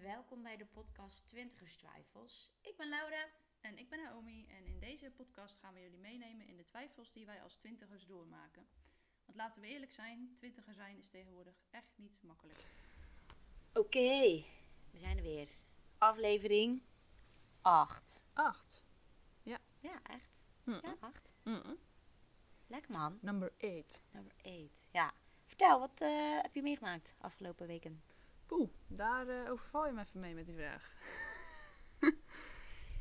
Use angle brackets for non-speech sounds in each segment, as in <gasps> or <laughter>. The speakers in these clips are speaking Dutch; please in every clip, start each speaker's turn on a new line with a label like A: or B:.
A: welkom bij de podcast Twintigers Twijfels. Ik ben Laura.
B: En ik ben Naomi en in deze podcast gaan we jullie meenemen in de twijfels die wij als twintigers doormaken. Want laten we eerlijk zijn, twintiger zijn is tegenwoordig echt niet makkelijk.
A: Oké, we zijn er weer. Aflevering 8.
B: Acht.
A: Ja, echt.
B: Mm.
A: Ja, 8. Lekker man.
B: Number eight.
A: Nummer 8. Ja. Vertel, wat eh, heb je meegemaakt afgelopen weken?
B: Poeh, daar eh, overval je me even mee met die vraag. <laughs>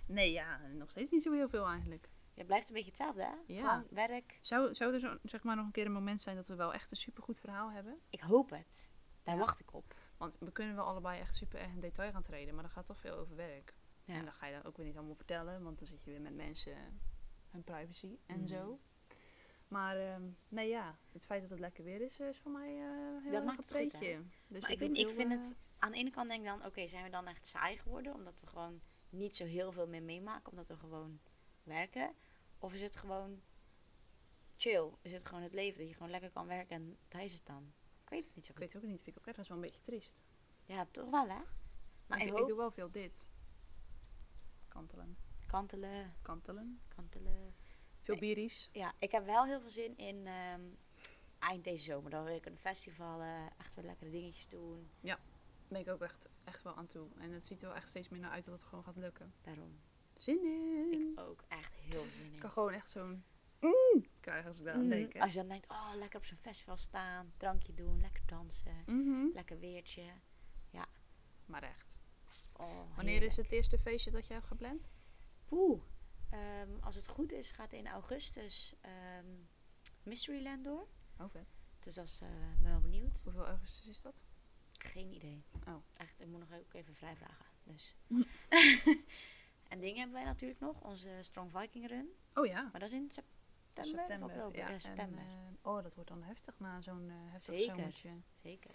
B: nee, ja, nog steeds niet zo heel veel eigenlijk.
A: Je blijft een beetje hetzelfde, hè?
B: Ja.
A: Gewoon werk.
B: Zou, zou er zo, zeg maar nog een keer een moment zijn dat we wel echt een supergoed verhaal hebben?
A: Ik hoop het. Daar
B: Ja.
A: wacht ik op.
B: Want we kunnen wel allebei echt super erg in detail gaan treden, maar dat gaat toch veel over werk.
A: Ja.
B: En dat ga je dan ook weer niet allemaal vertellen, want dan zit je weer met mensen eh, hun privacy en
A: Mhm.
B: zo. Maar ehm, nee, ja, het feit dat het lekker weer is, is voor mij eh heel
A: Dat
B: erg
A: maakt
B: een
A: het goed, hè?
B: treetje. Dus
A: Maar ik,
B: doe
A: weet niet, ik
B: heel,
A: vind
B: eh,
A: het... Aan de ene kant denk ik dan, oké, zijn we dan echt saai geworden? Omdat we gewoon niet zo heel veel meer meemaken, omdat we gewoon werken. Of is het gewoon chill? Is het gewoon het leven, dat je gewoon lekker kan werken en dat is het dan? Ik weet het niet zo
B: Ik
A: goed.
B: weet het ook niet, vind ik ook ergens wel een beetje triest.
A: Ja, toch wel, hè? Maar
B: ik,
A: ik,
B: doe- ik
A: hoop...
B: doe wel veel dit. Kantelen,
A: Kantelen,
B: kantelen.
A: kantelen.
B: Veel
A: Ik-
B: bieries.
A: Ja, ik heb wel heel veel zin in ehm, eind deze zomer. Dan wil ik een festival, eh, echt weer lekkere dingetjes doen.
B: Ben ik ook echt, echt wel aan toe. En het ziet er wel echt steeds meer naar uit dat het gewoon gaat lukken.
A: Daarom.
B: Zin in!
A: Ik ook echt heel veel zin
B: Ik
A: in.
B: Mm. kan gewoon echt zo'n... Mm, krijgen als ik daar aan
A: Mm,
B: denk. hè.
A: als je dan denkt, oh, lekker op zo'n festival staan, drankje doen, lekker dansen,
B: Mhm.
A: lekker weertje.
B: Maar echt.
A: Oh,
B: Wanneer is
A: heerlijk.
B: het eerste feestje dat je hebt gepland?
A: Poeh. Ehm, als het goed is, gaat in augustus ehm Mysteryland door.
B: Oh, vet.
A: Dus dat is, eh, ik ben wel benieuwd.
B: Hoeveel augustus is dat?
A: Geen idee.
B: Oh.
A: Echt, ik moet nog ook even vrijvragen. Dus.
B: Hm.
A: <laughs> en dingen hebben wij natuurlijk nog, onze Strong Viking Run.
B: Oh ja.
A: Maar dat is in september, of oktober. Ja,
B: en,
A: september.
B: eh, oh, dat wordt dan heftig na zo'n eh, heftig
A: Zeker.
B: zomertje.
A: Zeker.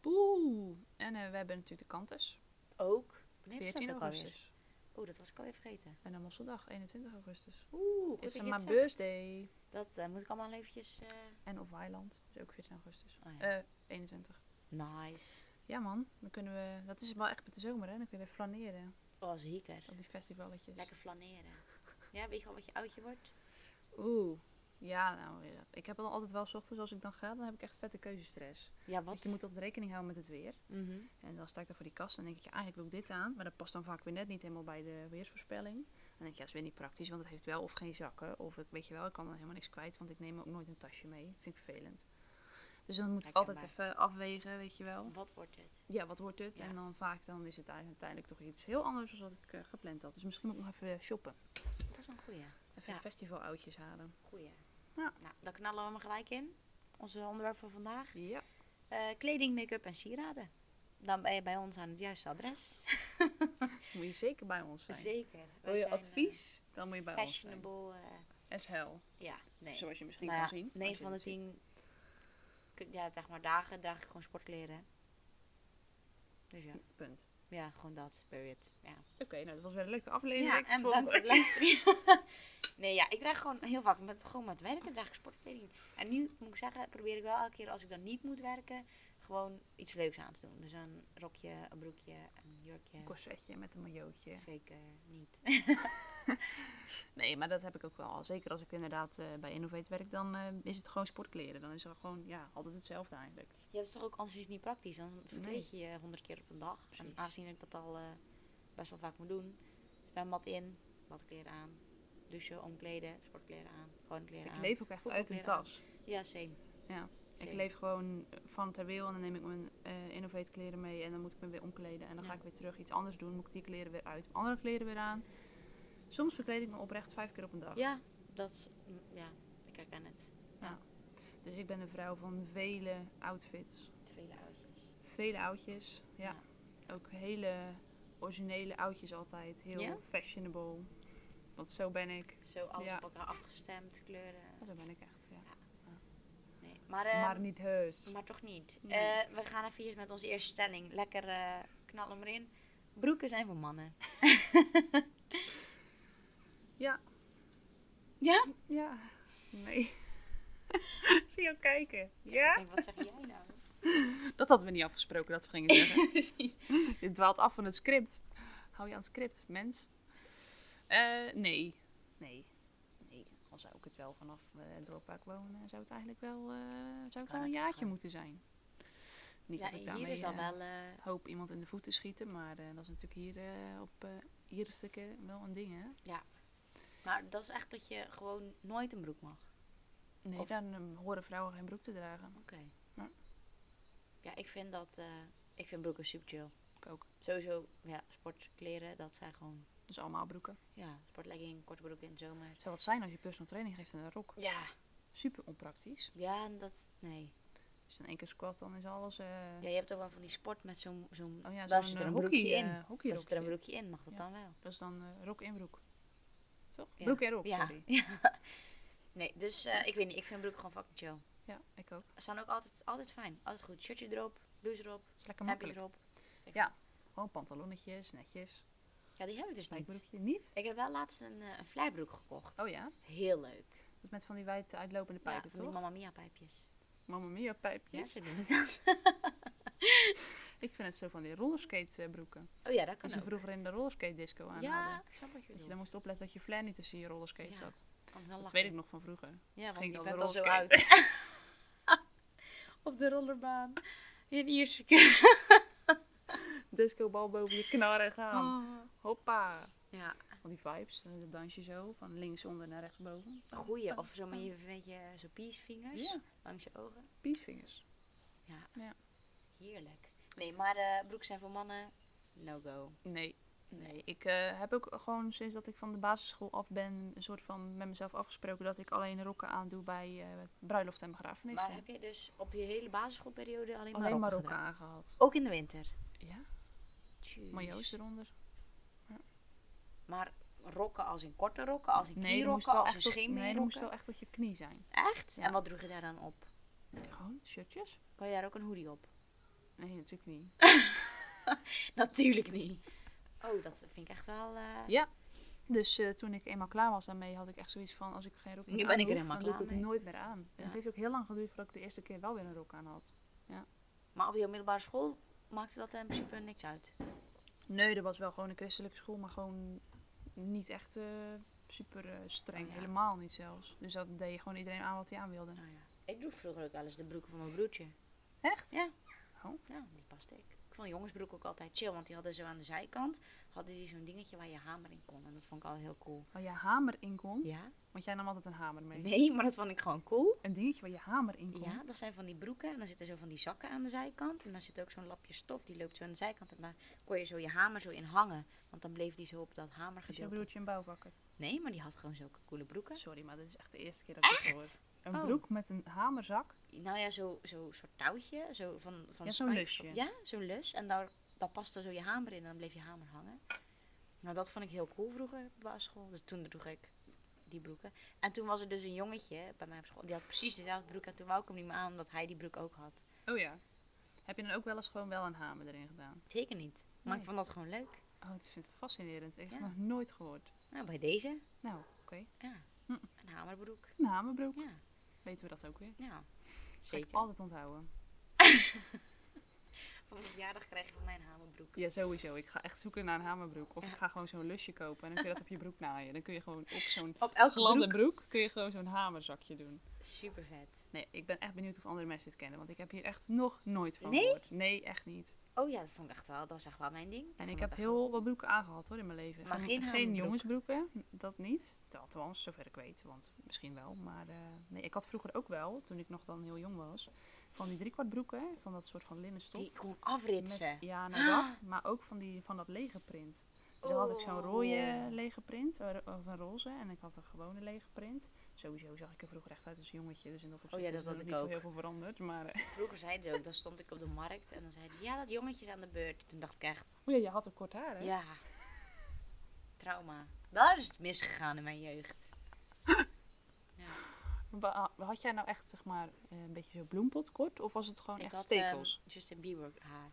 B: Boe. En eh, we hebben natuurlijk de Kantus.
A: Ook. Wanneer is dat
B: 14
A: ook alweer?
B: augustus.
A: Oeh, dat was ik alweer vergeten.
B: En dan Mosseldag, 21 augustus.
A: Oeh, goed dat
B: is
A: je
B: er
A: het
B: mijn
A: zegt.
B: birthday.
A: Dat eh, moet ik allemaal eventjes... eh,
B: En of Weiland. Is ook 14 augustus.
A: Oh ja.
B: Eh 21.
A: Nice.
B: Ja man, dan kunnen we... Dat is wel echt met de zomer hè. Dan kun je weer flaneren
A: Oh, zeker.
B: op die festivaletjes.
A: Lekker flaneren. Ja, weet je al wat je oudje wordt?
B: Oeh. Ja, nou, ja. ik heb dan altijd wel 's ochtends als ik dan ga, dan heb ik echt vette keuzestress.
A: Ja,
B: Want je moet altijd rekening houden met het weer.
A: Mhm.
B: En dan sta ik daar voor die kast en denk ik, ja, eigenlijk wil ik dit aan. Maar dat past dan vaak weer net niet helemaal bij de weersvoorspelling. En dan denk ik, ja, dat is weer niet praktisch, want het heeft wel of geen zakken. Of ik weet je wel, ik kan dan helemaal niks kwijt, want ik neem ook nooit een tasje mee. vind ik vervelend. Dus dan moet ik
A: Herkenbaar.
B: altijd even afwegen, weet je wel.
A: Wat wordt het?
B: Ja, wat wordt het?
A: Ja.
B: En dan vaak dan is het uiteindelijk toch iets heel anders dan wat ik eh, gepland had. Dus misschien moet ik nog even shoppen.
A: Dat is een goeie.
B: Even
A: Ja.
B: festivaloutjes halen.
A: Goeie.
B: Ja.
A: Nou, daar knallen we maar gelijk in. Onze onderwerp van vandaag.
B: Ja.
A: Eh, kleding, make-up en sieraden. Dan ben je bij ons aan het juiste adres.
B: Moet je zeker bij ons zijn.
A: <laughs> Zeker.
B: Wil je advies? Dan moet je bij ons zijn.
A: fashionable. eh,
B: As hell.
A: ja, nee.
B: Zoals je misschien
A: Nou
B: kan
A: ja,
B: zien.
A: negen
B: als je
A: van
B: dit
A: de
B: ziet.
A: 10 ja, zeg maar, dagen draag ik gewoon sportkleren. Dus ja,
B: Punt.
A: ja gewoon dat, period. Ja.
B: Oké, nou dat was weer een leuke aflevering.
A: Ja,
B: Tot
A: en
B: volgende
A: bedankt voor
B: week.
A: het luisteren. <laughs> nee, ja, ik draag gewoon heel vaak, met, gewoon met werken draag ik sportkleding. En nu moet ik zeggen, probeer ik wel elke keer als ik dan niet moet werken, gewoon iets leuks aan te doen. Dus een rokje, een broekje, een jurkje.
B: Een corsetje met een maillotje.
A: Zeker niet.
B: Nee, maar dat heb ik ook wel. Zeker als ik inderdaad eh, bij Innovate werk, dan eh, is het gewoon sportkleren. Dan is het gewoon ja, altijd hetzelfde eigenlijk.
A: Ja, dat is toch ook anders is het niet praktisch. Dan verkleed je je honderd keer op een dag. En
B: Precies.
A: aangezien ik dat al eh, best wel vaak moet doen, zwembad in, badkleren aan, douchen, omkleden, sportkleren aan, gewoon kleren
B: Ik
A: aan.
B: leef ook echt uit een
A: voetbalkleren aan.
B: tas.
A: Ja, same.
B: Ja,
A: Same.
B: Ik leef gewoon van ter wil en dan neem ik mijn eh, Innovate kleren mee en dan moet ik me weer omkleden. En dan
A: Ja.
B: ga ik weer terug iets anders doen, moet ik die kleren weer uit, andere kleren weer aan. Soms verkleed ik me oprecht vijf keer op een dag.
A: Ja, dat is, mm, ja, ik herken het.
B: Dus ik ben een vrouw van vele outfits.
A: Vele oudjes.
B: Vele oudjes. Ja. Ook hele originele oudjes altijd. Heel
A: Ja?
B: fashionable. Want zo ben ik.
A: Zo alles
B: Ja.
A: op elkaar afgestemd, kleuren.
B: Ja, zo ben ik echt, ja.
A: Nee. Maar, eh,
B: Ehm, maar
A: maar,
B: niet heus.
A: toch niet.
B: Nee.
A: Eh, we gaan even met onze eerste stelling. Lekker eh knallen maar in. Broeken zijn voor mannen.
B: Ja.
A: Ja?
B: Ja. Nee. <laughs> Zie jou kijken.
A: Ik
B: Ja? <laughs>
A: denk, wat zeg jij nou?
B: Dat hadden we niet afgesproken dat we gingen zeggen.
A: Precies.
B: Je dwaalt af van het script. Hou je aan het script, mens. Eh, nee. Nee. Nee. Al zou ik het wel vanaf eh, het dorppark wonen, zou het eigenlijk wel, eh, zou het
A: Kan
B: wel een
A: het
B: jaartje
A: zeggen.
B: moeten zijn. Niet
A: Ja,
B: dat
A: hier
B: ik daarmee
A: is al
B: eh,
A: wel... eh,
B: hoop iemand in de voeten schieten, maar eh, dat is natuurlijk hier eh, op eh Ierstukken wel een ding, hè?
A: maar dat is echt dat je gewoon nooit een broek mag.
B: Nee,
A: Of-
B: dan eh, horen vrouwen geen broek te dragen.
A: Oké.
B: Ja.
A: Ja, ik vind dat... eh, ik vind broeken super chill.
B: Ik ook.
A: Sowieso, ja, sportkleren, dat zijn gewoon...
B: Dus allemaal broeken.
A: Ja, sportlegging, korte broek in de zomer.
B: Zou wat zijn als je personal training geeft in een rok?
A: Ja.
B: Super onpraktisch.
A: Ja, en dat... Nee.
B: Als je in één keer squat, dan is alles... eh,
A: Ja, je hebt ook wel van die sport met zo'n... zo'n
B: Oh ja,
A: daar
B: zo'n
A: zit er
B: eh,
A: een broekje
B: hockey,
A: in.
B: eh,
A: daar zit er een
B: rokje.
A: broekje in, mag dat
B: Ja.
A: dan wel?
B: Dat is dan eh, rok in broek. Toch?
A: Ja.
B: Broek en
A: <laughs>
B: rok,
A: ja.
B: sorry.
A: Ja. Nee, dus eh, ik weet niet. Ik vind broeken gewoon fucking chill.
B: Ja, ik ook.
A: Ze zijn ook altijd, altijd fijn. Altijd goed. Shirtje erop, blouse erop,
B: is lekker
A: heb
B: makkelijk.
A: erop.
B: Gewoon pantalonnetjes, netjes.
A: Ja, die heb ik dus
B: Een
A: niet.
B: broekje niet.
A: Ik heb wel laatst een, eh, een vleerbroek gekocht.
B: Oh ja?
A: Heel leuk.
B: Dat is met van die wijd uitlopende
A: Ja,
B: pijpen,
A: van die
B: toch?
A: Mamma Mia pijpjes.
B: Mamma mia
A: Ja,
B: pijpjes.
A: ze doen dat. <laughs>
B: Ik vind het zo van die rollerskate eh, broeken.
A: Oh ja, dat
B: Dat
A: kan
B: ze
A: ook.
B: vroeger in de rollerskate disco aan
A: Ja, ik snap wat je
B: Dat je dan
A: bedoelt.
B: moest opletten dat je flair niet tussen je rollerskate
A: Ja,
B: zat.
A: Anders dan
B: Dat
A: lach
B: weet
A: je.
B: ik nog van vroeger.
A: Ja, want
B: ging
A: ik
B: ik al
A: ben al zo
B: rollerskaten.
A: uit. <laughs> Op de rollerbaan. In Ierse
B: Discobal boven je knarren gaan.
A: <laughs> Oh.
B: Hoppa.
A: Ja,
B: Al die vibes. eh, Dat dansje zo. Van links onder naar rechts boven.
A: goeie. Of zo met je, met je zo peacevingers
B: Ja.
A: langs je ogen.
B: Peacefingers.
A: Ja.
B: Ja.
A: Heerlijk. Nee, maar eh broeken zijn voor mannen. No go.
B: Nee. Nee, ik eh, heb ook gewoon sinds dat ik van de basisschool af ben, een soort van met mezelf afgesproken dat ik alleen rokken aandoe bij eh, bruiloft en begrafenis.
A: Maar heb je dus op je hele basisschoolperiode alleen maar
B: alleen maar
A: rokken
B: rokken
A: gedaan?
B: aangehad.
A: Ook in de winter?
B: Ja,
A: Tjus.
B: majo's eronder.
A: Maar rokken als in korte rokken, als in
B: er moest
A: knierokken,
B: wel
A: als in
B: echt tot- nee, er moest
A: schemerrokken?
B: wel echt tot je knie zijn.
A: Echt?
B: Ja.
A: En wat droeg je daar dan op?
B: Nee, gewoon shirtjes?
A: Kan je daar ook een hoodie op? <laughs>
B: Nee, natuurlijk niet.
A: Natuurlijk niet. Oh, dat vind ik echt wel... eh,
B: Ja. Dus eh, toen ik eenmaal klaar was daarmee, had ik echt zoiets van: als ik geen rok
A: Nu
B: meer
A: ben ik er
B: aandoe,
A: helemaal
B: dan doe
A: klaar
B: ik het
A: mee.
B: nooit meer aan. En
A: Ja.
B: het heeft ook heel lang geduurd voordat ik de eerste keer wel weer een rok aan had.
A: Maar op je middelbare school maakte dat in principe niks uit.
B: Nee, er was wel gewoon een christelijke school, maar gewoon niet echt eh, super eh, streng.
A: Oh ja.
B: Helemaal niet zelfs. Dus dat deed je gewoon iedereen aan wat hij aan wilde.
A: Nou ja. Ik droeg vroeger ook wel eens de broeken van mijn broertje.
B: Echt?
A: Ja.
B: Oh.
A: Ja, die paste ik. Ik vond jongensbroek ook altijd chill, want die hadden zo aan de zijkant hadden die zo'n dingetje waar je hamer in kon. En dat vond ik altijd heel cool.
B: Waar je hamer in kon.
A: Ja?
B: Want jij nam altijd een hamer mee.
A: Nee, maar dat vond ik gewoon cool.
B: Een dingetje waar je hamer in kon.
A: Ja, dat zijn van die broeken en dan zitten zo van die zakken aan de zijkant. En dan zit ook zo'n lapje stof, die loopt zo aan de zijkant. En daar kon je zo je hamer zo in hangen. Want dan bleef die zo op dat
B: Dus je
A: hamergedeelte.
B: broertje een bouwvakker.
A: Nee, maar die had gewoon zulke coole broeken.
B: Sorry, maar dit is echt de eerste keer dat ik dit hoor. Een
A: Oh.
B: broek met een hamerzak.
A: Nou ja, zo'n zo, soort touwtje. Zo van, van
B: Ja, zo'n
A: spijkers
B: lusje.
A: op- Ja, zo'n lus. En daar, daar paste zo je hamer in en dan bleef je hamer hangen. Nou, dat vond ik heel cool vroeger op de basisschool. Dus toen droeg ik die broeken. En toen was er dus een jongetje bij mij op school. Die had precies dezelfde broek. En toen wou ik hem niet meer aan, omdat hij die broek ook had.
B: Oh ja. Heb je dan ook wel eens gewoon wel een hamer erin gedaan?
A: Zeker niet. Maar
B: Nee.
A: ik vond dat gewoon leuk.
B: Oh, ik vind het fascinerend. Ik heb
A: Ja.
B: het nog nooit gehoord.
A: Nou, bij deze.
B: Nou, oké.
A: Ja.
B: Hm.
A: Een hamerbroek.
B: Een hamerbroek.
A: Ja,
B: Weten we dat ook weer?
A: ja.
B: Ga ik
A: Zeker.
B: altijd onthouden.
A: Voor mijn verjaardag kreeg ik van mijn hamerbroek.
B: Ja, sowieso. Ik ga echt zoeken naar een hamerbroek. Of ik ga gewoon zo'n lusje kopen en dan kun je dat op je broek naaien. Dan kun je gewoon op zo'n
A: Op elke
B: gladde
A: broek.
B: broek kun je gewoon zo'n hamerzakje doen.
A: Super vet.
B: Nee, ik ben echt benieuwd of andere mensen dit kennen, want ik heb hier echt nog nooit van
A: Nee?
B: gehoord. Nee, echt niet.
A: Oh ja, dat vond ik echt wel. Dat was echt wel mijn ding. Ik
B: En
A: vond
B: ik
A: dat
B: heb
A: echt
B: heel wat broeken aangehad hoor in mijn leven.
A: Maar geen
B: geen
A: hamerbroek.
B: jongensbroeken, dat niet. Althans, zover ik weet, want misschien wel. Maar eh, nee, ik had vroeger ook wel, toen ik nog dan heel jong was, van die driekwart van dat soort van linnen stof.
A: Die kon
B: Met-
A: afritsen.
B: ja, nou
A: <gasps>
B: dat. Maar ook van, die, van dat lege print. Dus dan had ik zo'n rode
A: Oh.
B: lege print, eh, ro- of een roze, en ik had een gewone lege print. Sowieso zag ik er vroeger echt uit als een jongetje, dus in dat opzicht
A: Oh ja,
B: is
A: dat
B: er
A: had
B: nog
A: ik
B: niet zo
A: ook.
B: heel veel veranderd.
A: <laughs>
B: Maar eh,
A: Vroeger zei ze ook, dan stond ik op de markt en dan zei ze, ja, dat jongetje is aan de beurt. Toen dacht ik echt,
B: oh ja, je had ook kort haar, hè?
A: ja, trauma. Daar is het misgegaan in mijn jeugd. Ja,
B: Wa- Had jij nou echt, zeg maar, eh, een beetje zo bloempot kort, of was het gewoon
A: ik
B: echt
A: had ehm,
B: stekels?
A: Justin Bieber haar.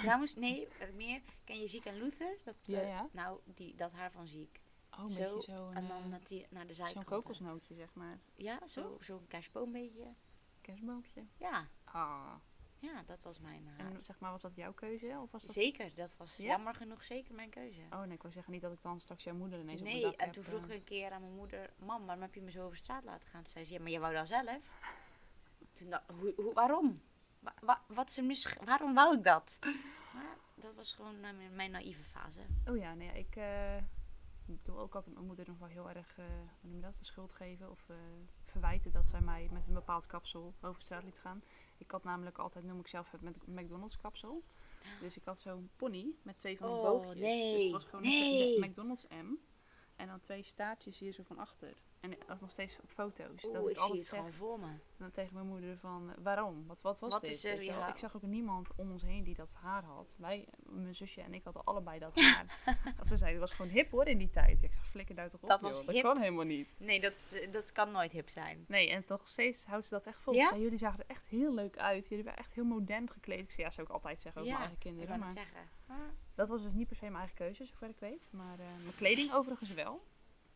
A: Trouwens, nee, wat meer, ken je Ziek en Luther? Dat, eh,
B: Ja, ja.
A: Nou, die, dat haar van Ziek.
B: oh, een
A: ehm, zo,
B: beetje zo'n,
A: en dan
B: eh,
A: met die, naar de
B: zo'n Oh.
A: zijkant.
B: kokosnootje, zeg maar.
A: Ja, zo- zo'n kerstboom beetje.
B: Kerstboompje.
A: Ja,
B: Ah,
A: Ja, dat was mijn haar.
B: En zeg maar, was dat jouw keuze? Of was dat...
A: Zeker, dat was
B: Ja?
A: jammer genoeg zeker mijn keuze.
B: Oh nee, ik wil zeggen niet dat ik dan straks jouw moeder ineens op
A: nee,
B: mijn dak
A: en
B: heb,
A: toen
B: eh.
A: vroeg ik een keer aan mijn moeder: Mam, waarom heb je me zo over straat laten gaan? Toen zei ze: Ja, maar jij wou dat zelf. Toen dacht hoe, hoe, waarom? Wa- wa- wat is er mis? Waarom wou ik dat? Maar dat was gewoon eh, mijn, mijn naïeve fase.
B: Oh ja, nee, ja, ik eh, doe ook altijd mijn moeder nog wel heel erg, eh, hoe noem je dat, de schuld geven of eh, verwijten dat zij mij met een bepaald kapsel over straat liet gaan. Ik had namelijk altijd, noem ik zelf het met McDonald's kapsel. Dus ik had zo'n pony met twee van die
A: Oh,
B: boogjes. Dus
A: nee,
B: het was gewoon
A: nee.
B: een Mc- McDonald's M. En dan twee staartjes hier zo van achter. En dat was nog steeds op foto's. dat
A: Oeh, Dus ik zie
B: altijd
A: het
B: zeg
A: gewoon voor me.
B: dan tegen mijn moeder van eh, waarom? Wat, wat was
A: Wat
B: dit?
A: is er,
B: Weet je wel?
A: ja.
B: Ik zag ook niemand om ons heen die dat haar had. Wij, mijn zusje en ik hadden allebei dat
A: <laughs>
B: haar. dat ze zei, dat was gewoon hip hoor in die tijd. Ik zag flikker uit op.
A: Dat
B: joh.
A: was
B: dat
A: hip.
B: kan helemaal niet.
A: Nee, dat, eh, dat kan nooit hip zijn.
B: Nee, en nog steeds houdt ze dat echt vol.
A: Ja?
B: Ze zei, jullie zagen er echt heel leuk uit. Jullie waren echt heel modern gekleed. Ik zei, ja, zou ik altijd zeggen over
A: Ja,
B: mijn eigen
A: Ik
B: kinderen.
A: kan het
B: Maar
A: zeggen. Maar
B: dat was dus niet per se mijn eigen keuze, zover ik weet. Maar eh, mijn kleding overigens wel.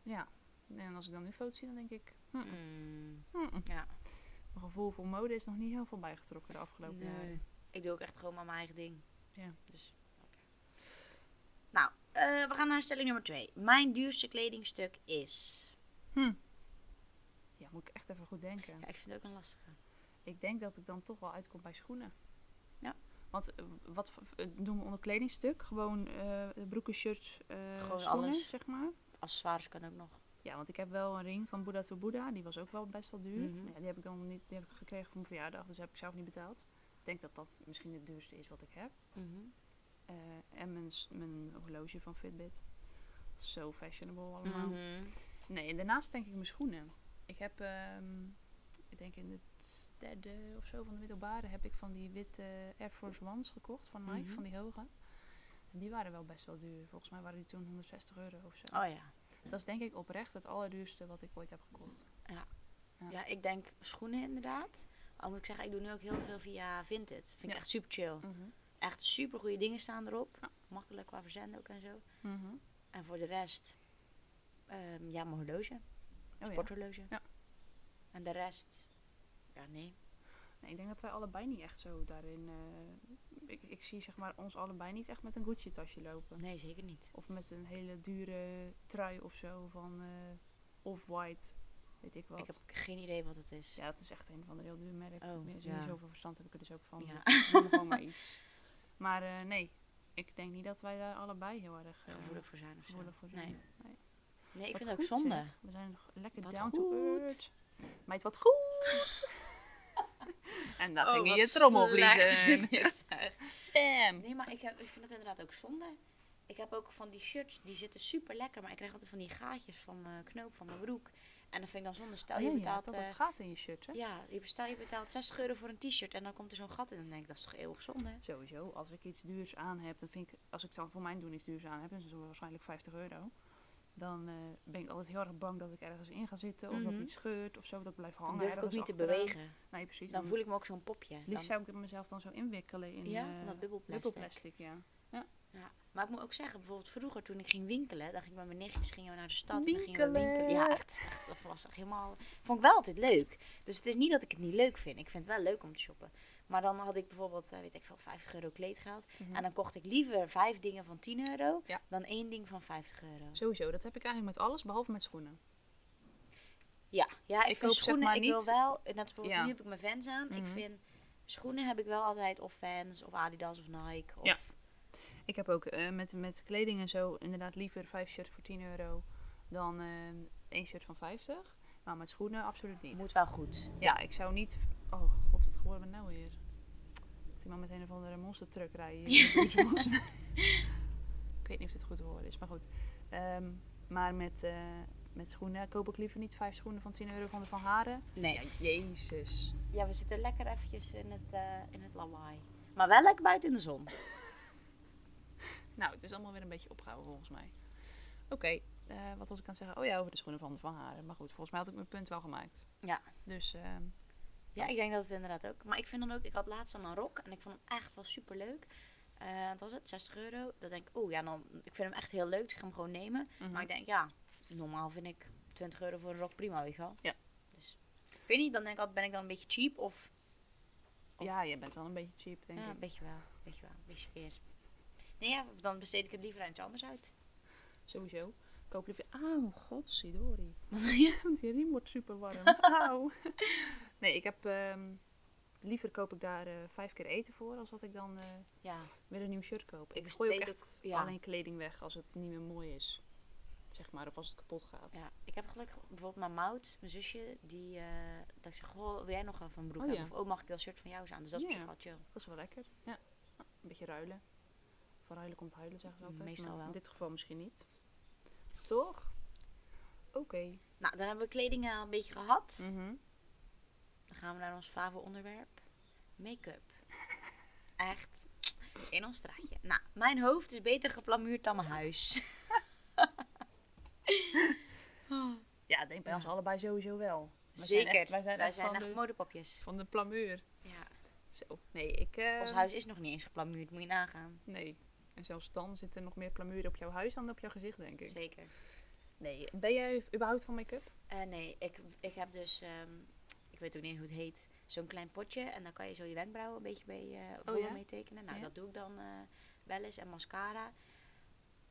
B: Ja. En als ik dan nu foto's zie, dan denk ik... hm,
A: mm,
B: hm, hm.
A: ja,
B: Mijn gevoel voor mode is nog niet heel veel bijgetrokken de afgelopen jaren.
A: nee. Ik doe ook echt gewoon maar mijn eigen ding.
B: Ja.
A: Dus, oké. Nou, eh, we gaan naar stelling nummer twee. Mijn duurste kledingstuk is...
B: Ja, moet ik echt even goed denken.
A: Ja, ik vind het ook een lastige.
B: Ik denk dat ik dan toch wel uitkom bij schoenen.
A: Ja.
B: Want eh, wat v- eh, doen we onder kledingstuk? Gewoon eh, broeken, shirts, eh,
A: Gewoon
B: schoenen,
A: alles.
B: zeg maar.
A: Accessoires kan ook nog.
B: Ja, want ik heb wel een ring van Buddha to Buddha. Die was ook wel best wel duur.
A: Mhm.
B: Ja, die heb ik dan niet die heb ik gekregen voor mijn verjaardag. Dus heb ik zelf niet betaald. Ik denk dat dat misschien het duurste is wat ik heb. Eh, en mijn, s- mijn horloge van Fitbit. Zo fashionable allemaal.
A: Mhm.
B: Nee, en daarnaast denk ik mijn schoenen. Ik heb, ehm, ik denk in het derde of zo van de middelbare, heb ik van die witte Air Force Ones gekocht van Nike,
A: Mhm.
B: van die hoge. En die waren wel best wel duur. Volgens mij waren die toen 160 euro of zo.
A: Oh ja.
B: Dat is denk ik oprecht het allerduurste wat ik ooit heb gekocht.
A: Ja, ik denk schoenen inderdaad. Al moet ik zeggen, ik doe nu ook heel veel via Vinted. Vind
B: Ja.
A: ik echt super chill. Echt super goede dingen staan erop.
B: Ja.
A: Makkelijk qua verzenden ook en zo.
B: Mhm. Oh
A: En voor de rest, ehm, ja, mijn horloge.
B: Oh, ja.
A: sporthorloge.
B: Ja.
A: En de rest, ja, nee.
B: Nee, ik denk dat wij allebei niet echt zo daarin. eh, ik, ik zie zeg maar ons allebei niet echt met een Gucci tasje lopen.
A: Nee, zeker niet.
B: Of met een hele dure trui of zo van eh, off-white. Weet ik wat.
A: Ik heb geen idee wat het is.
B: Ja, het is echt een van de heel duur merk.
A: Oh,
B: Meer-
A: ja.
B: Niet zoveel verstand heb ik er dus ook van.
A: Ja.
B: Ik noem
A: <laughs>
B: gewoon maar iets. Maar eh, nee, ik denk niet dat wij daar allebei heel erg eh,
A: Gevoelig voor zijn of zo.
B: gevoelig voor zijn.
A: Nee,
B: Nee.
A: nee ik
B: Wat
A: vind het ook
B: goed,
A: zonde.
B: zeg. We zijn nog lekker
A: Wat
B: down
A: goed.
B: to earth. Meid, wat
A: <laughs>
B: goed! en
A: Oh,
B: daar ging je je trommel vliezen. <laughs>
A: <laughs>
B: Bam!
A: Nee, maar ik, heb, ik vind het inderdaad ook zonde. Ik heb ook van die shirts, die zitten super lekker, maar ik krijg altijd van die gaatjes van mijn knoop van mijn broek. En dan vind ik dan zonde. Stel
B: Oh,
A: je
B: ja,
A: betaalt.
B: dat
A: eh,
B: het gaat in je shirt, hè?
A: ja, je betaalt, je betaalt 60 euro voor een t-shirt en dan komt er zo'n gat in. En dan denk ik, dat is toch eeuwig zonde?
B: Sowieso, als ik iets duurs aan heb, dan vind ik, als ik dan voor mijn doen iets duurs aan heb, en dat is waarschijnlijk 50 euro, dan eh, ben ik altijd heel erg bang dat ik ergens in ga zitten, of
A: Mhm.
B: dat iets scheurt of zo, dat ik blijf hangen.
A: Dan durf ik ook
B: ergens
A: niet te
B: achteraan.
A: bewegen.
B: Nee, precies.
A: Dan voel ik me ook zo'n popje. Dan-
B: Liefst zou ik mezelf dan zo inwikkelen in
A: ja,
B: eh,
A: van dat bubbelplastic.
B: bubbelplastic, ja.
A: Ja. Maar ik moet ook zeggen, bijvoorbeeld vroeger toen ik ging winkelen, dan ging ik met mijn nichtjes gingen we naar de stad en dan gingen we
B: Winkelen.
A: winkelen. Ja, echt, echt, dat was echt helemaal... Vond ik wel altijd leuk. Dus het is niet dat ik het niet leuk vind. Ik vind het wel leuk om te shoppen. Maar dan had ik bijvoorbeeld, eh, weet ik veel, 50 euro kleedgeld. En dan kocht ik liever vijf dingen van 10 euro
B: Mhm. Ja.
A: dan één ding van 50 euro.
B: Sowieso, dat heb ik eigenlijk met alles, behalve met schoenen.
A: Ja, ja ik,
B: Ik
A: vind
B: koop zeg
A: schoenen,
B: maar
A: ik wil
B: niet-
A: wel... Net als bijvoorbeeld,
B: Ja.
A: Nu heb ik mijn Vans aan.
B: Mhm.
A: Ik vind, schoenen heb ik wel altijd of Vans of Adidas of Nike. Of,
B: Ja. Ik heb ook eh, met, met kleding en zo inderdaad liever vijf shirts voor 10 euro dan eh, één shirt van 50. Maar met schoenen absoluut niet.
A: Moet wel goed.
B: Ja, ik zou niet. Oh god, wat geworden we nou weer? Dat iemand met een of andere monster truck rijden. hier in
A: <laughs>
B: de buurt, volgens mij. <laughs> ik weet niet of dit goed te horen is, maar goed. Ehm, maar met, eh, met schoenen koop ik liever niet vijf schoenen van 10 euro van de Van Haren.
A: Nee.
B: jezus.
A: Ja, we zitten lekker eventjes in het, eh, in het lawaai. Maar wel lekker buiten in de zon.
B: Nou, het is allemaal weer een beetje opgehouden volgens mij. Oké, eh, wat was ik aan het zeggen? Oh ja, over de schoenen van de Van Haren. Maar goed, volgens mij had ik mijn punt wel gemaakt.
A: Ja.
B: Dus ehm,
A: Ja, ik denk dat het inderdaad ook. Maar ik vind dan ook, ik had laatst dan een rok en ik vond hem echt wel super leuk. wat was het? 60 euro. Dan denk ik, oh ja, dan, ik vind hem echt heel leuk. Dus ik ga hem gewoon nemen. Maar ik denk, ja, normaal vind ik 20 euro voor een rok prima, weet je wel.
B: Ja.
A: Dus, ik weet niet, dan denk ik altijd, ben ik dan een beetje cheap of Of-
B: Ja, je bent wel een beetje cheap, denk
A: ja,
B: ik.
A: een beetje wel. Een beetje wel. Een beetje weer. Nee, ja, dan besteed ik het liever aan iets anders uit.
B: Sowieso. Ik hoop liever... Auw, <laughs> godsidori.
A: Wat wil je?
B: Die riem wordt super warm. Auw. <laughs> nee, ik heb... ehm, liever koop ik daar eh, vijf keer eten voor, als dat ik dan eh,
A: Ja,
B: weer een nieuw shirt koop. Ik
A: Ik
B: gooi ook
A: besteed
B: echt
A: ook- ja.
B: alleen kleding weg als het niet meer mooi is. Zeg maar, of als het kapot gaat.
A: ja, ik heb gelukkig bijvoorbeeld mijn mout, mijn zusje, die eh, dat ik zeg, goh, wil jij nog wel van broek
B: Oh,
A: hebben?
B: ja.
A: Of oh, mag ik dat shirt van jou eens aan? Dus dat is
B: Ja.
A: op zich wel chill.
B: Dat is wel lekker. Ja. Een beetje ruilen. Van ruilen komt huilen, zeggen ze altijd.
A: Meestal
B: maar
A: wel.
B: In dit geval misschien niet. Toch? Oké.
A: Nou, dan hebben we kleding eh, een beetje gehad.
B: Mhm.
A: Dan gaan we naar ons favoriete onderwerp.
B: <laughs>
A: Make-up. Echt in ons straatje. Nou, mijn hoofd is beter geplamuurd dan mijn
B: <laughs>
A: huis.
B: Ja, ik denk bij
A: Ja.
B: ons allebei sowieso wel. Wij zijn
A: Zeker.
B: echt- wij zijn echt van de-
A: modepapjes.
B: Van de plamuur.
A: Ja.
B: Zo. Nee, ik... eh,
A: Ons huis is nog niet eens geplamuurd, moet je nagaan.
B: Nee. En zelfs dan zit er nog meer plamuur op jouw huis dan op jouw gezicht, denk ik.
A: Zeker.
B: Nee. Ben jij überhaupt van make-up?
A: Eh, nee, ik, ik heb dus, ehm, ik weet ook niet eens hoe het heet, zo'n klein potje. En dan kan je zo je wenkbrauwen een beetje mee, eh voor
B: Oh, ja?
A: mee tekenen. Nou,
B: Ja.
A: dat doe ik dan eh, wel eens. En mascara.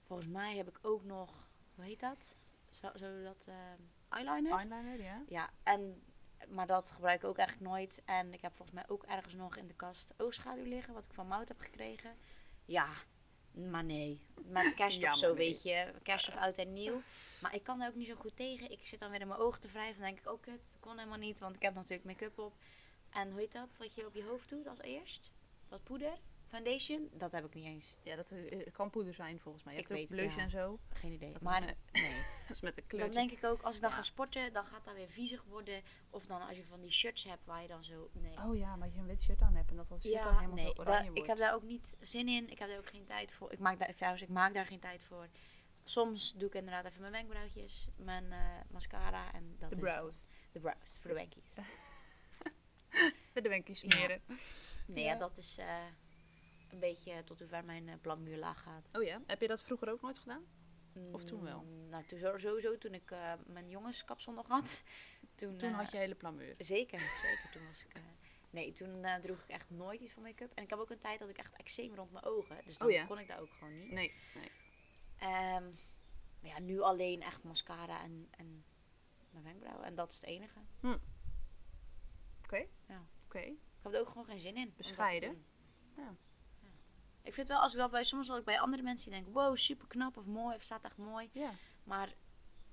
A: Volgens mij heb ik ook nog, hoe heet dat? Zo, zo dat, ehm, eyeliner?
B: Eyeliner, ja.
A: Ja, en, maar dat gebruik ik ook eigenlijk nooit. En ik heb volgens mij ook ergens nog in de kast oogschaduw liggen, wat ik van Mout heb gekregen. Ja, maar nee.
B: <laughs>
A: Met kerst of
B: Ja, maar
A: zo,
B: nee.
A: weet je. Kerst of oud en nieuw. Maar ik kan er ook niet zo goed tegen. Ik zit dan weer in mijn ogen te wrijven. Dan denk ik, oh kut, dat kon helemaal niet, want ik heb natuurlijk make-up op. En hoe heet dat, wat je op je hoofd doet als eerst? Dat poeder? Foundation? Dat heb ik niet eens.
B: Ja, dat eh, kan poeder zijn volgens mij. Je
A: Ik
B: hebt ook
A: weet-
B: blush
A: ja.
B: en <laughs> zo.
A: Geen idee.
B: Dat is
A: maar
B: een- <laughs>
A: nee.
B: Dat is Dus met de kleur.
A: Dan denk ik ook, als ik dan
B: Ja.
A: ga sporten, dan gaat dat weer viezig worden. Of dan als je van die shirts hebt waar je dan zo... Nee.
B: Oh ja, maar je een wit shirt aan hebt en dat dat shirt dan helemaal zo oranje
A: daar-
B: wordt.
A: ik heb daar ook niet zin in. Ik heb daar ook geen tijd voor. Ik maak daar, trouwens, ik maak daar geen tijd voor. Soms doe ik inderdaad even mijn wenkbrauwtjes, mijn eh, mascara en dat
B: de
A: is
B: brows.
A: het. De brows, voor de
B: <laughs>
A: wenkies.
B: Met de wenkjes smeren.
A: Nee, ja.
B: Ja.
A: dat is eh, een beetje tot hoe ver mijn eh, plamuur laag gaat.
B: Oh ja, heb je dat vroeger ook nooit gedaan? Of toen wel?
A: Mm, nou, toen, zo- sowieso toen ik eh, mijn jongenskapsel nog had. <laughs> Toen,
B: Toen
A: eh,
B: had je hele plamuur.
A: Zeker, zeker. Toen was ik... eh, nee, toen eh, droeg ik echt nooit iets van make-up. En ik heb ook een tijd dat ik echt eczeem rond mijn ogen. Dus dan
B: Oh ja.
A: kon ik daar ook gewoon niet.
B: Nee, nee.
A: Ehm, maar ja, nu alleen echt mascara en, en mijn wenkbrauwen. En dat is het enige.
B: Oké.
A: Ja.
B: Oké.
A: Ik heb er ook gewoon geen zin in. om dat te
B: Bescheiden.
A: doen.
B: Ja.
A: Ja. Ik vind wel, als ik dat bij, soms wel bij andere mensen die denken, wow, super knap of mooi, of staat echt mooi.
B: Ja.
A: Maar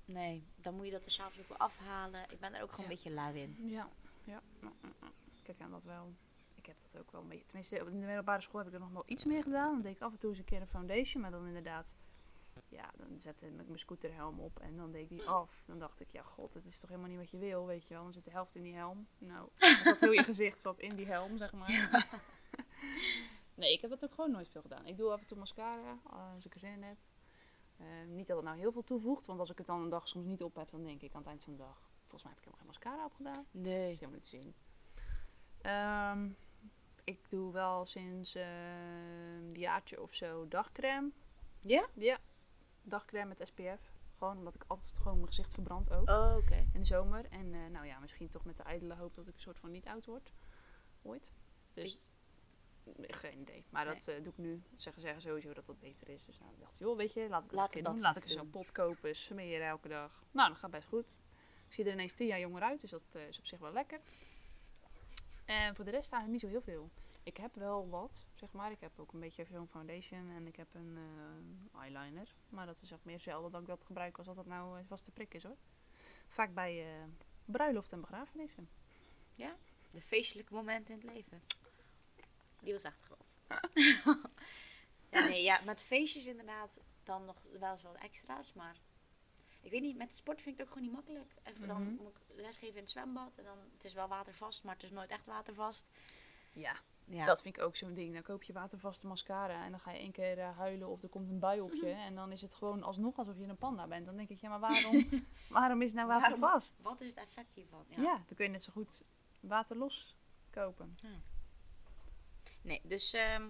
A: nee, dan moet je dat er s'avonds ook wel afhalen. Ik ben er ook gewoon een beetje lui in.
B: Ja. Ja. Mm, mm, mm. Kijk aan dat wel. Ik heb dat ook wel een beetje. Tenminste, op de middelbare school heb ik er nog wel iets meer gedaan. Dan deed ik af en toe eens een keer een foundation, maar dan inderdaad. Ja, dan zette ik mijn scooterhelm op en dan deed ik die af. Dan dacht ik, ja god, het is toch helemaal niet wat je wil, weet je wel. Dan zit de helft in die helm. <laughs> Nou, dan zat heel je gezicht zat in die helm, zeg maar. <laughs> Nee, ik heb dat ook gewoon nooit veel gedaan. Ik doe af en toe mascara, eh, als ik er zin in heb. Eh, niet dat het nou heel veel toevoegt, want als ik het dan een dag soms niet op heb, dan denk ik aan het eind van de dag... Volgens mij heb ik helemaal geen mascara opgedaan.
A: Nee.
B: Dat is helemaal niet te zien. Ehm, ik doe wel sinds eh, een jaartje of zo dagcrème.
A: Ja?
B: Ja, dagcrème met SPF. Gewoon omdat ik altijd gewoon mijn gezicht verbrand ook.
A: Oh, oké.
B: In de zomer. En eh, nou ja, misschien toch met de ijdele hoop dat ik een soort van niet oud word. Ooit. Dus geen idee. Maar dat eh, doe ik nu. Zeggen, zeggen sowieso dat dat beter is. Dus nou, ik dacht, joh, weet je, laat
A: Laat
B: ik dat
A: ik
B: keer
A: dat
B: doen. Laat
A: eens
B: ik eens
A: doen.
B: zo'n pot kopen, smeren elke dag. Nou, dat gaat best goed. Ik zie er ineens tien jaar jonger uit, dus dat eh, is op zich wel lekker. En voor de rest eigenlijk niet zo heel veel. Ik heb wel wat, zeg maar. Ik heb ook een beetje zo'n foundation en ik heb een eh, eyeliner. Maar dat is echt meer zelden dat ik dat gebruik als dat dat nou eh, vaste prik is hoor. Vaak bij eh, bruiloft en begrafenissen.
A: De feestelijke momenten in het leven. Die was echt grof. <laughs> ja, nee, ja, met feestjes inderdaad dan nog wel eens wat extra's, maar ik weet niet, met sport vind ik het ook gewoon niet makkelijk. Even dan
B: Mhm.
A: moet ik lesgeven in het zwembad en dan, het is wel watervast, maar het is nooit echt watervast.
B: Ja,
A: Ja,
B: dat vind ik ook zo'n ding. Dan koop je watervaste mascara en dan ga je één keer eh, huilen of er komt een bui op je. En dan is het gewoon alsnog alsof je een panda bent. Dan denk ik, ja maar waarom, <laughs> waarom is nou
A: Waarom?
B: watervast?
A: wat is het effect hiervan?
B: Ja. dan kun je net zo goed waterlos kopen.
A: Nee, dus ehm,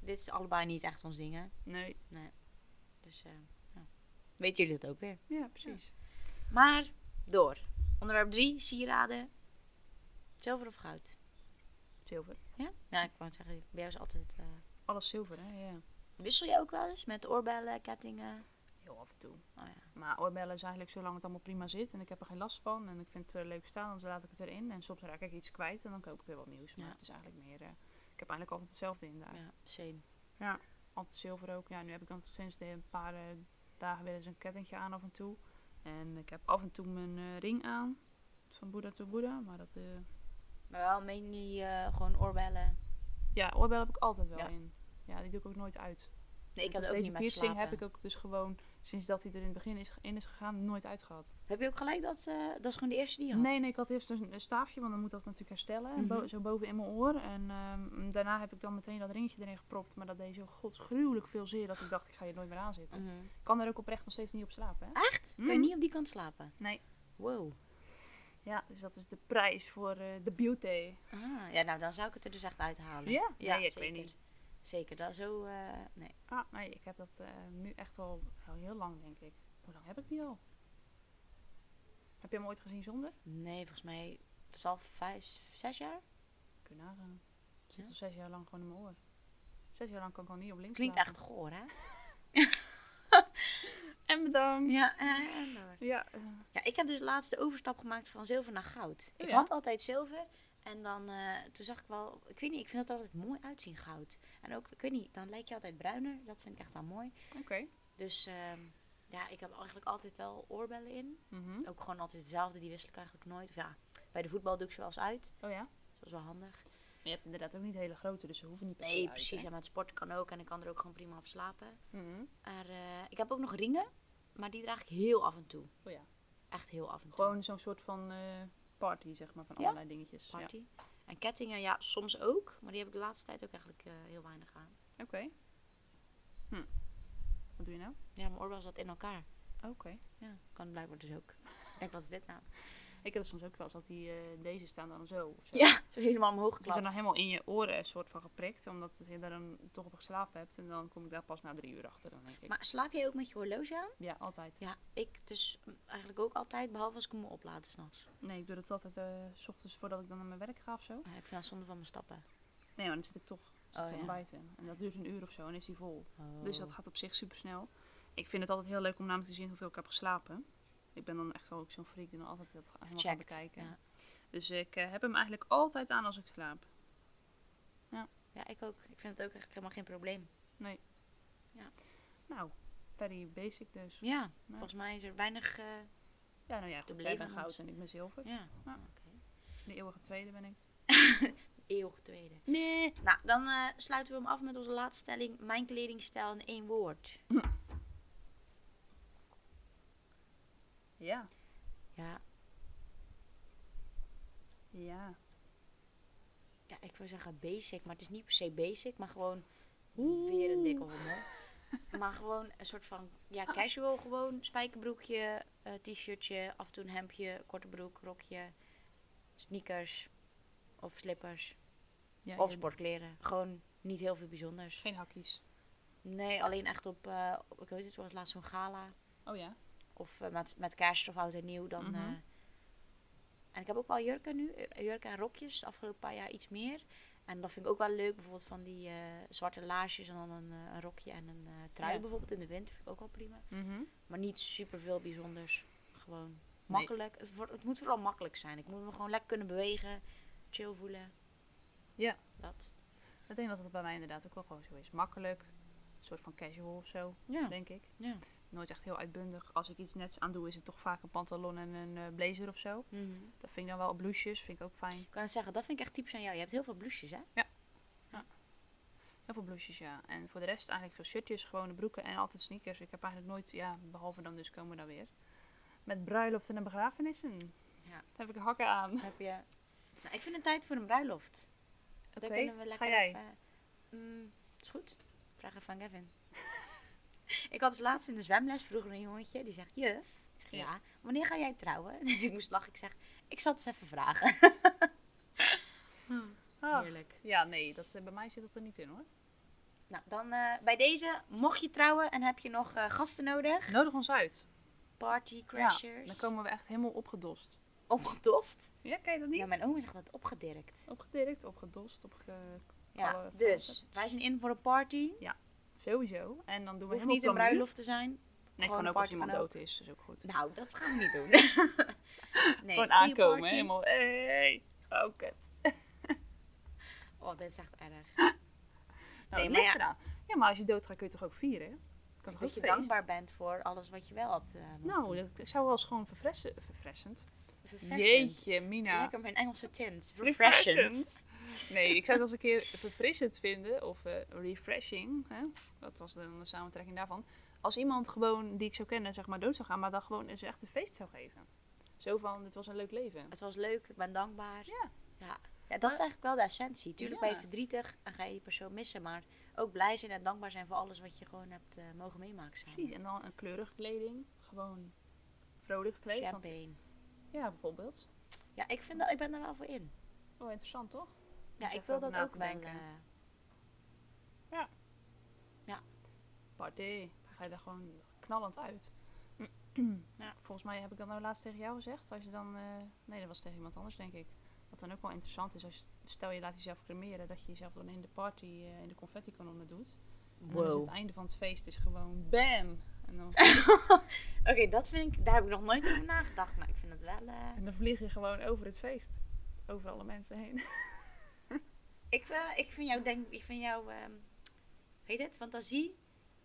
A: dit is allebei niet echt ons ding, hè.
B: Nee.
A: Dus ehm, ja. weten jullie dat ook weer.
B: Ja, precies.
A: Maar door. Onderwerp 3, sieraden. Zilver of goud?
B: Zilver.
A: Ja? Ja, ik wou het zeggen, bij jou is altijd... eh,
B: Alles zilver, hè? Ja.
A: Wissel je ook wel eens met oorbellen, kettingen?
B: Heel af en toe.
A: Oh ja.
B: Maar oorbellen is eigenlijk zolang het allemaal prima zit en ik heb er geen last van en ik vind het eh, leuk staan, dus laat ik het erin. En soms raak ik iets kwijt en dan koop ik weer wat nieuws. Maar
A: Ja.
B: het is eigenlijk meer, eh, ik heb eigenlijk altijd hetzelfde in daar.
A: Ja, same.
B: Altijd zilver ook. Ja, nu heb ik dan sinds de een paar eh, dagen weer eens een kettingje aan af en toe. En ik heb af en toe mijn eh, ring aan, van Boeddha to Boeddha. Maar dat, eh,
A: Maar wel mainly eh, gewoon oorbellen.
B: ja, oorbellen heb ik altijd wel
A: Ja.
B: in. Ja, die doe ik ook nooit uit.
A: Nee, ik
B: Dus
A: heb er ook
B: deze
A: niet met
B: piercing
A: slapen.
B: heb ik ook dus gewoon, sinds dat hij er in het begin is, in is gegaan, nooit uitgehad.
A: Heb je ook gelijk dat... eh, dat is gewoon de eerste die je had?
B: Nee, nee, ik had eerst een, een staafje, want dan moet dat natuurlijk herstellen. En bo-
A: Mhm.
B: zo boven in mijn oor. En ehm, daarna heb ik dan meteen dat ringetje erin gepropt. Maar dat deed zo godsgruwelijk veel zeer dat ik dacht, ik ga hier nooit meer aan zitten.
A: Mhm.
B: Ik kan er ook oprecht nog steeds niet op slapen, hè?
A: Echt? Kun je
B: Mm.
A: niet op die kant slapen?
B: Nee.
A: Wow.
B: Ja, dus dat is de prijs voor eh, de beauty.
A: Ah, ja, nou dan zou ik het er dus echt uithalen.
B: Ja? Nee, ik weet
A: zeker.
B: niet.
A: Zeker, dat zo... eh, nee.
B: Ah, nee, ik heb dat eh, nu echt al al heel lang, denk ik. Hoe lang heb ik die al? Heb je hem ooit gezien zonder?
A: nee, volgens mij... Dat is al vijf, zes jaar?
B: Kun je nagaan. Het zit
A: Ja?
B: al zes jaar lang gewoon in mijn oor. Zes jaar lang kan ik al niet op links
A: Klinkt
B: slapen.
A: echt goor, hè?
B: En bedankt.
A: <laughs> en
B: Ja, eh,
A: Ja, ik heb dus laatst de overstap gemaakt van zilver naar goud.
B: Oh
A: Ik
B: ja?
A: had altijd zilver. En dan, eh, toen zag ik wel, ik weet niet, ik vind dat er altijd mooi uitzien goud. En ook, ik weet niet, dan lijk je altijd bruiner. Dat vind ik echt wel mooi.
B: oké.
A: Dus ehm, ja, ik heb eigenlijk altijd wel oorbellen in.
B: Mhm.
A: Ook gewoon altijd dezelfde, die wissel ik eigenlijk nooit. Of ja, bij de voetbal doe ik ze wel eens uit.
B: Oh ja?
A: Dat is wel handig.
B: Maar je hebt inderdaad ook niet hele grote, dus ze hoeven niet per se
A: Nee,
B: uit,
A: precies.
B: hè?
A: En met sport kan ook. En ik kan er ook gewoon prima op slapen.
B: Mhm.
A: Maar eh, ik heb ook nog ringen. Maar die draag ik heel af en toe.
B: Oh ja.
A: Echt heel af en toe.
B: Gewoon zo'n soort van eh, party, zeg maar, van
A: Ja?
B: allerlei dingetjes. Ja.
A: party. En kettingen, ja, soms ook. Maar die heb ik de laatste tijd ook eigenlijk eh, heel weinig aan.
B: Oké. Hm. Wat doe je nou?
A: Ja, mijn oorbel zat in elkaar.
B: Oké.
A: Ja, kan blijkbaar dus ook. <laughs> Ik denk, wat is dit nou?
B: Ik heb het soms ook wel eens dat die, eh, deze staan dan zo. of zo.
A: Ja, zo helemaal omhoog
B: Die zijn dan
A: geklapt.
B: helemaal in je oren een soort van geprikt, omdat je daar dan toch op geslapen hebt. En dan kom ik daar pas na drie uur achter, dan denk ik.
A: Maar slaap jij ook met je horloge aan?
B: ja, altijd.
A: Ja, ik dus mm, eigenlijk ook altijd, behalve als ik hem moet opladen s'nachts.
B: Nee, ik doe dat altijd eh, s ochtends voordat ik dan naar mijn werk ga of zo.
A: Ah, ik vind dat zonde van mijn stappen.
B: Nee, maar dan zit ik toch zit
A: Oh,
B: ik
A: ja.
B: buiten. En dat duurt een uur of zo en is die vol.
A: Oh.
B: Dus dat gaat op zich super snel. Ik vind het altijd heel leuk om namelijk te zien hoeveel ik heb geslapen. Ik ben dan echt wel ook zo'n freak die dan altijd dat helemaal gaat
A: Checked,
B: bekijken.
A: Ja.
B: Dus ik eh, heb hem eigenlijk altijd aan als ik slaap.
A: ja, ik ook. Ik vind het ook echt helemaal geen probleem.
B: Nou, very basic dus. Ja,
A: Ja, volgens mij is er weinig... eh,
B: nou ja, goed, jij
A: beleven
B: bent
A: van
B: goud
A: ons.
B: en ik ben zilver.
A: ja,
B: Ja.
A: oké.
B: De eeuwige tweede ben ik.
A: Eeuwig tweede.
B: Nee.
A: Nou, dan eh, sluiten we hem af met onze laatste stelling. Mijn kledingstijl in één woord.
B: Ja.
A: Ja,
B: Ja.
A: ja, ik wil zeggen basic, maar het is niet per se basic, maar gewoon weer een dikke hommel. maar gewoon een soort van,
B: Oh.
A: ja, casual gewoon. Spijkerbroekje, eh, t-shirtje, af en toe een hemdje, korte broek, rokje, sneakers of slippers.
B: ja
A: of
B: je-
A: sportkleren. Gewoon niet heel veel bijzonders.
B: Geen hakjes.
A: Nee, alleen echt op, eh, op- ik weet het, zoals laatst zo'n gala.
B: Oh ja.
A: Of eh, met, met kerst of oud en nieuw dan.
B: Mhm.
A: eh. en ik heb ook wel jurken nu, eh, jurken en rokjes, de afgelopen paar jaar iets meer. En dat vind ik ook wel leuk, bijvoorbeeld van die eh, zwarte laarsjes en dan een, eh, een rokje en een eh, trui
B: Ja.
A: bijvoorbeeld in de winter. Vind ik ook wel prima.
B: Mhm.
A: Maar niet super veel bijzonders. Gewoon makkelijk. Het, wordt- het moet vooral makkelijk zijn. Ik moet me gewoon lekker kunnen bewegen, chill voelen.
B: Ja.
A: Dat.
B: Ik denk dat het bij mij inderdaad ook wel gewoon zo is. Makkelijk. Een soort van casual of zo,
A: Ja.
B: denk ik.
A: Ja.
B: Nooit echt heel uitbundig. Als ik iets nets aan doe, is het toch vaak een pantalon en een eh, blazer of zo.
A: Mhm.
B: Dat vind ik dan wel op blouses, vind ik ook fijn.
A: Ik kan het zeggen, dat vind ik echt typisch aan jou. Je hebt heel veel blouses, hè?
B: Heel veel blouses, ja. En voor de rest eigenlijk veel shirtjes, gewone broeken en altijd sneakers. Ik heb eigenlijk nooit, ja, behalve dan dus komen we dan weer. Met bruiloften en begrafenissen.
A: Ja.
B: Daar heb ik hakken aan.
A: Heb je... Nou, ik vind het tijd voor een bruiloft.
B: Oké,
A: Dan kunnen we lekker
B: ga jij.
A: even... Mm, is goed. Vraag even aan Gavin. <laughs> ik had als laatst in de zwemles vroeger een jongetje. Die zegt, juf. Ik zeg,
B: Ja.
A: ja. Wanneer ga jij trouwen? <laughs> Dus ik moest lachen. Ik zeg, ik zal het eens even vragen.
B: Ah.
A: Heerlijk.
B: Ja, nee, dat, eh, bij mij zit dat er niet in hoor.
A: Nou, dan eh, bij deze. Mocht je trouwen en heb je nog eh, gasten nodig.
B: Nodig ons uit.
A: Party crashers.
B: Dan komen we echt helemaal opgedost.
A: Opgedost.
B: Ja, ken je dat niet?
A: Ja, mijn oma zegt dat opgedirkt.
B: Opgedirkt, opgedost, opge...
A: Ja,
B: Alle
A: dus
B: facetten.
A: wij zijn in voor een party.
B: Sowieso. En dan doen we
A: Hoeft niet
B: helemaal
A: een
B: plamuur.
A: bruiloft te zijn.
B: Nee,
A: gewoon
B: gewoon
A: een
B: ook als
A: party
B: iemand
A: kan
B: dood is. Dat is ook goed.
A: Nou, dat gaan we niet
B: <laughs>
A: doen. nee,
B: gewoon
A: goede
B: aankomen, hè,
A: party.
B: helemaal... Hey. Oh, kut.
A: Oh, dit is echt erg.
B: Nou,
A: Nee, maar
B: nee,
A: ja.
B: maar ja. ja, maar als je doodgaat kun je toch ook vieren? hè? Kan
A: Dus
B: toch ook
A: dat je
B: feest?
A: dankbaar bent voor alles wat je wel hebt. eh, mogen doen.
B: Nou, dat zou wel eens gewoon verfressen- verfressend.
A: Verfreshend.
B: Jeetje, Mina.
A: Lekker met een Engelse tint.
B: Refreshend.
A: Refreshend.
B: Nee, ik zou het als een keer verfrissend vinden of eh, refreshing. Hè? Dat was dan de samentrekking daarvan. Als iemand gewoon die ik zou kennen, zeg maar dood zou gaan, maar dan gewoon eens echt een feest zou geven. Zo van, dit was een leuk leven.
A: Het was leuk, ik ben dankbaar.
B: Ja.
A: Ja, ja dat is eigenlijk wel de essentie. Tuurlijk
B: Ja.
A: ben je verdrietig en ga je die persoon missen, maar ook blij zijn en dankbaar zijn voor alles wat je gewoon hebt eh, mogen meemaken samen.
B: Precies. En dan een kleurige kleding, gewoon vrolijk gekleed. want-
A: Champagne.
B: ja, bijvoorbeeld.
A: Ja, ik, vind dat, ik ben daar wel voor in.
B: Oh, interessant toch?
A: Ja,
B: even
A: ik wil
B: over
A: dat
B: na
A: ook
B: te
A: wel.
B: denken.
A: eh,
B: Party. Dan ga je daar gewoon knallend uit. <clears throat> ja, volgens mij heb ik dat nou laatst tegen jou gezegd. Als je dan, eh, nee, dat was tegen iemand anders, denk ik. Wat dan ook wel interessant is, als je- stel je laat jezelf cremeren, dat je jezelf dan in de party, eh, in de confetti-kanonnen doet. En dan is het einde van het feest is gewoon bam! En dan, <laughs>
A: Oké, dat vind ik, daar heb ik nog nooit over nagedacht, maar ik vind het wel. eh,
B: en dan vlieg je gewoon over het feest. Over alle mensen heen. <laughs>
A: ik, eh, ik vind jou, denk, ik vind jou, ehm, weet het, fantasie,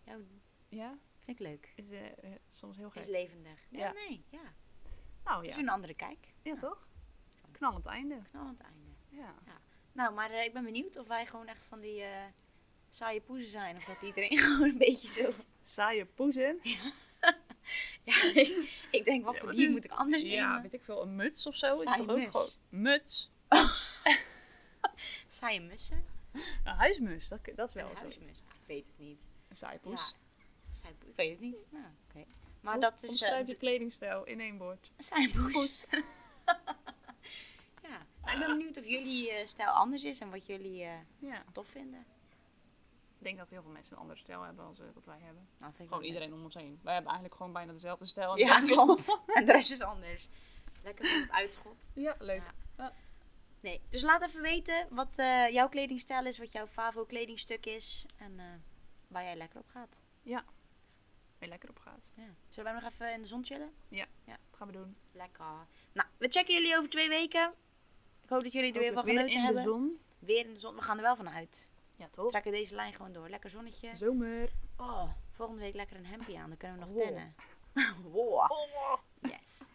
A: jou,
B: ja,
A: vind ik leuk.
B: is eh, eh, soms heel gek.
A: Is levendig. Nee,
B: Ja.
A: nee, ja. Oh
B: nou
A: Het is
B: ja.
A: een andere kijk.
B: ja, toch? Knallend einde.
A: Knal aan het einde.
B: Ja.
A: Nou, maar eh, ik ben benieuwd of wij gewoon echt van die eh, saaie poezen zijn. Of dat iedereen <laughs> gewoon een beetje zo... <laughs>
B: Saaie poezen.
A: Ja, ik, ik denk, wat
B: Ja,
A: voor
B: wat
A: dier
B: is-
A: moet ik anders
B: Ja,
A: nemen?
B: weet ik veel, een muts of zo.
A: Saaie
B: is toch ook
A: mus.
B: gewoon muts.
A: Saaie mussen?
B: Een huismus, dat, dat is wel
A: een
B: zoiets.
A: huismus? Ah, ik weet het niet.
B: Een saaipoes.
A: Saaie poes? Ik weet het niet. Nou, oké. Maar
B: Hoe
A: dat is...
B: Omschrijf
A: eh
B: je kledingstijl in één woord.
A: <laughs> saaie <laughs> poes. ja. Nou, ik ben benieuwd of jullie eh, stijl anders is en wat jullie eh,
B: Ja.
A: tof vinden.
B: Ik denk dat heel veel mensen een andere stijl hebben dan eh, wat wij hebben.
A: Nou, vind ik
B: Gewoon
A: wel leuk.
B: iedereen om ons heen. Wij hebben eigenlijk gewoon bijna dezelfde stijl. en
A: Ja, <laughs>
B: dat is allemaal-
A: klopt. en de rest is anders. Lekker van het uitschot.
B: Ja, leuk.
A: Ja. Nee, dus laat even weten wat eh, jouw kledingstijl is, wat jouw favo kledingstuk is en eh, waar jij lekker op gaat.
B: Weer lekker op gaat.
A: Ja. Zullen wij nog even in de zon chillen?
B: Gaan we doen.
A: Lekker. Nou, we checken jullie over twee weken. Ik hoop dat jullie er weer van
B: Hopelijk
A: genoten
B: in
A: hebben.
B: de zon.
A: Weer in de zon. We gaan er wel van uit.
B: Ja,
A: We
B: toch?
A: trekken deze lijn gewoon door. Lekker zonnetje.
B: Zomer.
A: Oh, volgende week lekker een hempje aan. Dan kunnen we nog
B: Wow.
A: tennen. <laughs> wow.
B: Oh.
A: Yes.